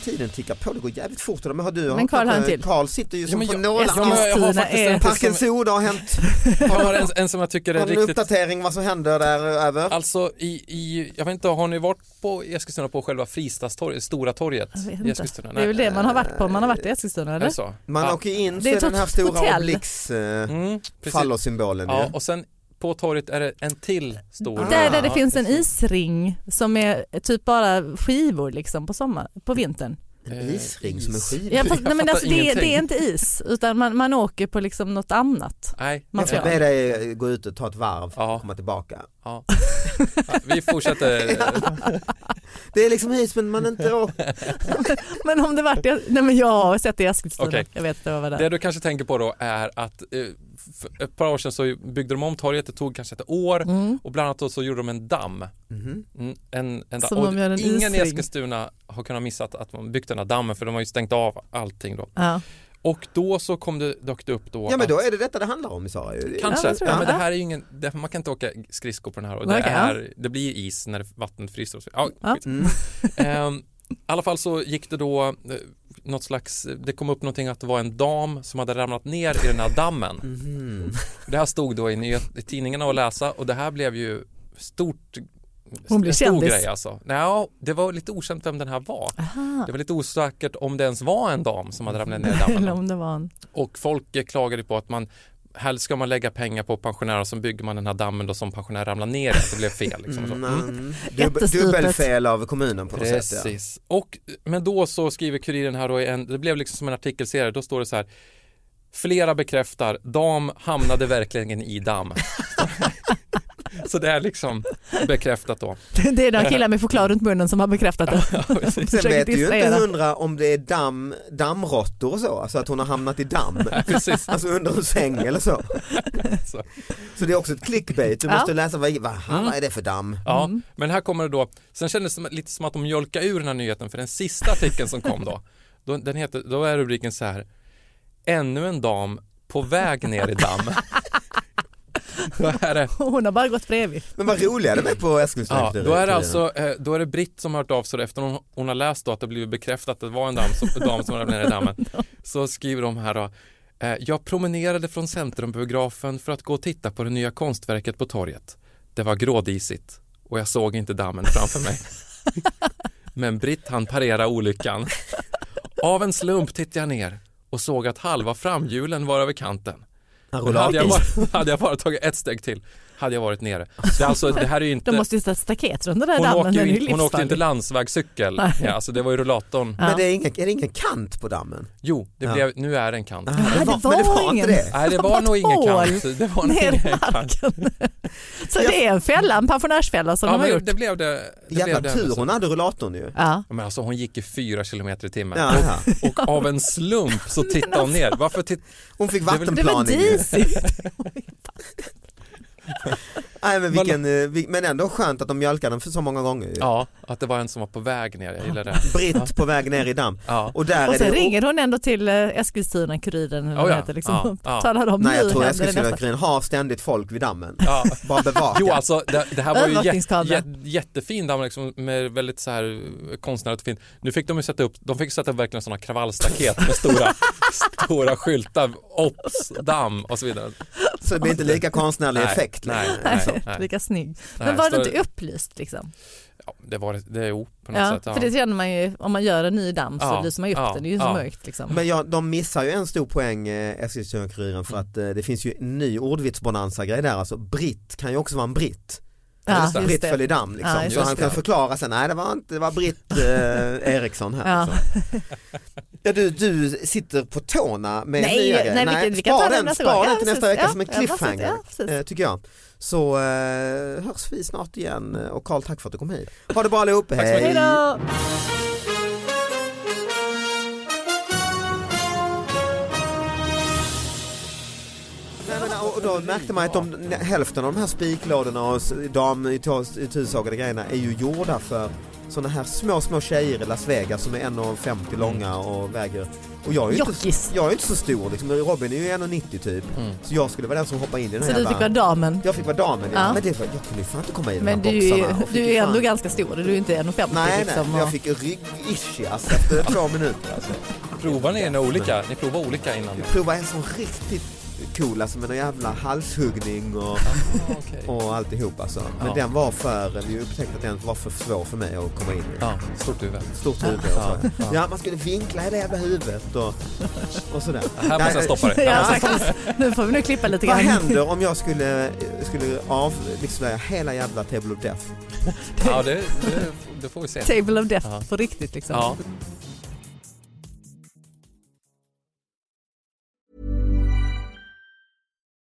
Speaker 2: Tiden tickar på, det går jävligt fort. Men har du,
Speaker 3: Men Carl har en till.
Speaker 2: Carl sitter ju som på
Speaker 4: Ja, men
Speaker 2: nålar. Alltså,
Speaker 4: jag har
Speaker 3: Kristina
Speaker 4: faktiskt
Speaker 3: är-
Speaker 4: en, till
Speaker 2: Parkens
Speaker 4: som,
Speaker 2: ord har hänt.
Speaker 4: jag har en, en som jag tycker är
Speaker 2: Har du en
Speaker 4: riktigt
Speaker 2: uppdatering vad som händer där eh, över?
Speaker 4: Alltså i, i, jag vet inte, har ni varit på Eskilstuna på själva Fristadstorget, Stora torget?
Speaker 3: Jag vet
Speaker 4: i
Speaker 3: inte.
Speaker 4: Eskilstuna?
Speaker 3: Det är väl
Speaker 4: Nej. eh,
Speaker 3: det man har varit på om man har varit i Eskilstuna
Speaker 4: Är det
Speaker 3: eller?
Speaker 4: så?
Speaker 2: Man
Speaker 4: ja.
Speaker 2: åker in så
Speaker 3: Det är
Speaker 2: är den här
Speaker 3: ett
Speaker 2: stora
Speaker 3: hotell.
Speaker 2: oblix eh,
Speaker 4: Mm, precis.
Speaker 2: fallosymbolen
Speaker 4: Ja,
Speaker 2: ju.
Speaker 4: och sen på torget är det en till stor.
Speaker 3: Ah. Där, där det
Speaker 4: Ja,
Speaker 3: finns en
Speaker 4: precis.
Speaker 3: isring som är typ bara skivor liksom på, sommar, på vintern.
Speaker 2: En
Speaker 4: eh,
Speaker 2: isring som en skiva.
Speaker 3: Ja, fast, nej, men
Speaker 4: fattar
Speaker 3: alltså, det, är- det är
Speaker 4: ingenting.
Speaker 3: inte is utan man, man åker på liksom något annat.
Speaker 4: Nej,
Speaker 3: Man
Speaker 2: Jag ska
Speaker 3: ska-
Speaker 2: be dig eh, gå ut och ta ett varv
Speaker 4: Ja.
Speaker 2: och komma tillbaka.
Speaker 4: ja. ja. Vi fortsätter.
Speaker 2: Det är liksom hit men man inte åker.
Speaker 3: Men om det vart det, nej men jag har sett det i Eskilstuna.
Speaker 4: Okej.
Speaker 3: Jag vet inte vad det var
Speaker 4: Det
Speaker 3: där.
Speaker 4: du kanske tänker på då är att eh, för ett par år sedan så byggde de om torget, det tog kanske ett år
Speaker 3: Mm.
Speaker 4: och bland annat då så gjorde de en damm.
Speaker 2: Mhm.
Speaker 4: Mm, En, en damm.
Speaker 3: Som
Speaker 4: Och
Speaker 3: de gör en
Speaker 4: ingen i
Speaker 3: isring.
Speaker 4: Eskilstuna har kunnat missa att, att man byggt den här dammen för de har ju stängt av allting då.
Speaker 3: Ja.
Speaker 4: Och då så kom det, dök det upp då
Speaker 2: Ja men
Speaker 4: att-
Speaker 2: då är det detta det handlar om Sara ju.
Speaker 4: Kanske,
Speaker 3: Ja,
Speaker 4: ja,
Speaker 3: det tror jag.
Speaker 4: men det här är ju ingen, det, man kan inte åka skridskor på den här och det,
Speaker 3: Okej, ja.
Speaker 4: är, det blir is när vattnet fryser och så. Ja,
Speaker 3: Ja.
Speaker 2: Mm,
Speaker 4: skit. Ehm, I alla fall så gick det då eh, något slags, det kom upp någonting att det var en dam som hade ramlat ner i den här dammen.
Speaker 3: Mhm.
Speaker 4: Det här stod då i, nyhet, i tidningarna att läsa och det här blev ju stort
Speaker 3: Hon blev
Speaker 4: en stor
Speaker 3: kändis.
Speaker 4: grej alltså. Nja, det var lite okänt vem den här var. Det var lite osäkert om det ens var en dam som hade ramlat ner i dammen.
Speaker 3: Eller om det var en...
Speaker 4: Och folk eh, klagade på att man helst ska man lägga pengar på pensionärer och så bygger man den här dammen då som pensionärer ramlar ner i. att Det blev fel liksom. Så. Mm.
Speaker 2: Dubb,
Speaker 3: Jättestupet.
Speaker 2: dubbelfel av kommunen på något sätt. Ja.
Speaker 4: Precis. Och, men då så skriver Kuriren här då, i en, det blev liksom som en artikelserie, då står det så här Flera bekräftar, dam hamnade verkligen i damm. så det är liksom bekräftat då.
Speaker 3: Det är några killar med choklad runt munnen som har bekräftat det.
Speaker 2: Sen
Speaker 3: Försöker
Speaker 2: vet du ju
Speaker 3: dissa
Speaker 2: inte
Speaker 3: era.
Speaker 2: hundra om det är damm, dammråttor och så, alltså att hon har hamnat i damm.
Speaker 4: Precis.
Speaker 2: Alltså under en säng eller så.
Speaker 4: Så. Mm.
Speaker 2: Så det är också ett clickbait, du
Speaker 3: Ja.
Speaker 2: måste läsa vad, vad, vad är det för damm? Mm.
Speaker 4: Ja, men här kommer det då, sen kändes det lite som att de mjölkade ur den här nyheten för den sista artikeln som kom då, då, den heter, då är rubriken så här, ännu en dam på väg ner i damm. då är det,
Speaker 3: Hon har bara gått bredvid.
Speaker 2: Men vad roliga de är på
Speaker 4: ja,
Speaker 2: Eskilstuna.
Speaker 4: då är det alltså, eh, då är det Britt som har hört av sig då, efter hon, hon har läst då att det blivit bekräftat att det var en dam som, dam som ramlade ner i dammen, så skriver de här då, eh, jag promenerade från Centrumbiografen för att gå och titta på det nya konstverket på torget. Det var grådisigt och jag såg inte dammen framför mig. Men Britt han parera olyckan. Av en slump tittade jag ner och såg att halva framhjulen var över kanten. Men Hade jag, bara, hade jag bara tagit ett steg till hade jag varit nere. Det, är alltså, det här är ju inte,
Speaker 3: De måste ju sätta staket runt den där
Speaker 4: hon,
Speaker 3: dammen.
Speaker 4: åker ju
Speaker 3: den är ju
Speaker 4: inte, hon åkte ju inte
Speaker 3: livsfarlig.
Speaker 4: landsvägscykel.
Speaker 3: Nej.
Speaker 4: Ja, alltså det var ju rullatorn.
Speaker 2: Men det är, ingen, är det ingen kant på dammen?
Speaker 4: Jo, det blev, nu är det en kant.
Speaker 2: Men
Speaker 3: det var
Speaker 2: men det var
Speaker 3: ingen.
Speaker 2: inte det.
Speaker 4: Nej, det
Speaker 3: Det
Speaker 4: var
Speaker 3: var
Speaker 4: nog
Speaker 3: ett
Speaker 4: ingen
Speaker 3: hål
Speaker 4: kant. Det var nog
Speaker 3: Ner i
Speaker 4: ingen kant.
Speaker 3: marken. Så det är en fälla, en pensionärsfälla som
Speaker 4: Ja,
Speaker 3: de har
Speaker 4: men
Speaker 3: gjort.
Speaker 4: det blev det. det, blev
Speaker 2: Jävla
Speaker 4: det alltså.
Speaker 2: tur hon hade rullatorn ju.
Speaker 3: Ja.
Speaker 4: Ja, Men alltså hon gick i fyra kilometer i timmen
Speaker 2: Ja, ja.
Speaker 4: och, och av en slump så tittade
Speaker 3: Alltså.
Speaker 4: hon ner. Varför titt...
Speaker 2: Hon fick
Speaker 4: väl-
Speaker 3: Det var
Speaker 2: vattenplaning. ju.
Speaker 3: disigt.
Speaker 2: Nej, men, vilken, eh, vil- men ändå skönt att de mjölkade den för så många gånger. ju.
Speaker 4: Ja, att det var en som var på väg ner. Jag gillar det.
Speaker 2: Britt på väg ner i damm.
Speaker 4: Ja.
Speaker 2: Och där
Speaker 3: Och
Speaker 2: är det
Speaker 3: sen ringer hon ändå till eh, Eskilstuna-Kuriren eller
Speaker 4: Oh
Speaker 3: vad
Speaker 4: ja,
Speaker 3: heter liksom.
Speaker 4: ja, ja.
Speaker 3: Talar om
Speaker 2: Nej, jag
Speaker 3: nu
Speaker 2: tror
Speaker 3: händer det nästa.
Speaker 2: Eskilstuna-Kuriren har ständigt folk vid dammen.
Speaker 4: Ja.
Speaker 2: Bara bevaka.
Speaker 4: Jo, alltså det, det här var ju jät,
Speaker 3: Övervakningskamera.
Speaker 4: jät, jättefin damm liksom, med väldigt så här eh, konstnärligt fint. Nu fick de ju sätta upp, de fick sätta upp verkligen sådana kravallstaket med stora, stora skyltar, OPS, damm och så vidare.
Speaker 2: Så det blir inte lika konstnärlig
Speaker 4: Nej,
Speaker 2: effekt
Speaker 4: nej,
Speaker 2: längre.
Speaker 4: nej.
Speaker 2: Alltså.
Speaker 3: Lika snygg.
Speaker 4: Nej,
Speaker 3: Men var det
Speaker 4: står-
Speaker 3: inte upplyst liksom?
Speaker 4: Ja, det var det, det jo, på något
Speaker 3: Ja,
Speaker 4: sätt.
Speaker 3: för det känner man ju om man gör en ny damm så
Speaker 4: Ja,
Speaker 3: du som har gjort
Speaker 4: ja,
Speaker 3: den, det är ju så
Speaker 4: ja.
Speaker 3: mörkt liksom.
Speaker 2: Men ja, de missar ju en stor poäng eh, Eskilstuna-Kuriren för att eh, det finns ju en ny ordvitsbonanza-grej där. Alltså britt kan ju också vara en britt.
Speaker 3: Ja,
Speaker 2: Alltså,
Speaker 3: just
Speaker 2: britt
Speaker 3: det.
Speaker 2: föll i damm liksom.
Speaker 3: Ja, just
Speaker 2: så han
Speaker 3: det.
Speaker 2: kan förklara sen, nej det var inte, det var Britt eh, Eriksson här.
Speaker 3: Ja.
Speaker 2: Alltså. Ja, du, du sitter på tårna med
Speaker 3: Nej,
Speaker 2: nya
Speaker 3: nej, vi
Speaker 2: grejer.
Speaker 3: kan- vi kan ta
Speaker 2: spar
Speaker 3: den
Speaker 2: den,
Speaker 3: nästa
Speaker 2: spar
Speaker 3: gång.
Speaker 2: den
Speaker 3: Ja,
Speaker 2: till
Speaker 3: precis.
Speaker 2: nästa vecka
Speaker 3: Ja,
Speaker 2: som en
Speaker 3: ja, precis.
Speaker 2: cliffhanger
Speaker 3: Ja, precis.
Speaker 2: eh, tycker jag. Så eh, hörs vi snart igen eh, och Karl tack för att du kom hit. Ha det bra allihop,
Speaker 3: Hej då!
Speaker 2: Nej, men, och och då märkte man att de, nä- hälften av de här spiklådorna och s- dam i tos- i tusagade grejerna är ju gjorda för sådana här små, små tjejer i Las Vegas som är 1,50 långa och väger och jag är ju
Speaker 3: Mm. Jockis. Mm.
Speaker 2: inte, jag är ju inte så stor liksom. Robin är ju 1,90 typ. Så jag skulle vara den som hoppar in i den
Speaker 3: Så
Speaker 2: här
Speaker 3: du fick vara damen.
Speaker 2: Jag fick vara damen ja.
Speaker 3: Ja.
Speaker 2: Men det var, jag kunde ju fan inte komma in i
Speaker 3: Men
Speaker 2: de
Speaker 3: du,
Speaker 2: här
Speaker 3: är ju-
Speaker 2: boxarna. och fick
Speaker 3: du är
Speaker 2: ju
Speaker 3: ju
Speaker 2: fan-
Speaker 3: ändå ganska stor, du är ju inte 1,50
Speaker 2: Nej,
Speaker 3: liksom.
Speaker 2: nej,
Speaker 3: och-
Speaker 2: jag fick ryggischias efter två minuter alltså.
Speaker 4: Provar ni en olika? Ni provar olika innan?
Speaker 2: Vi
Speaker 4: det?
Speaker 2: provade en sån riktigt cool alltså med någon jävla halshuggning och
Speaker 4: Ja, okej.
Speaker 2: och alltihop alltså. Men
Speaker 4: Ja.
Speaker 2: den var för, vi upptäckte att den var för svår för mig att komma in i.
Speaker 4: Ja, stort huvud.
Speaker 2: Stort huvud och så. Ja, man skulle vinkla hela jävla huvudet och, och sådär.
Speaker 4: Här måste jag stoppa det.
Speaker 3: Ja,
Speaker 4: Här måste jag
Speaker 3: faktiskt. Nu får vi nog klippa lite
Speaker 2: Vad
Speaker 3: grann.
Speaker 2: händer om jag skulle, skulle avlyssna hela jävla Table of Death?
Speaker 4: stoppa- Ja, det, det, det får vi se.
Speaker 3: Table of death
Speaker 4: Ja.
Speaker 3: på riktigt liksom.
Speaker 4: Ja.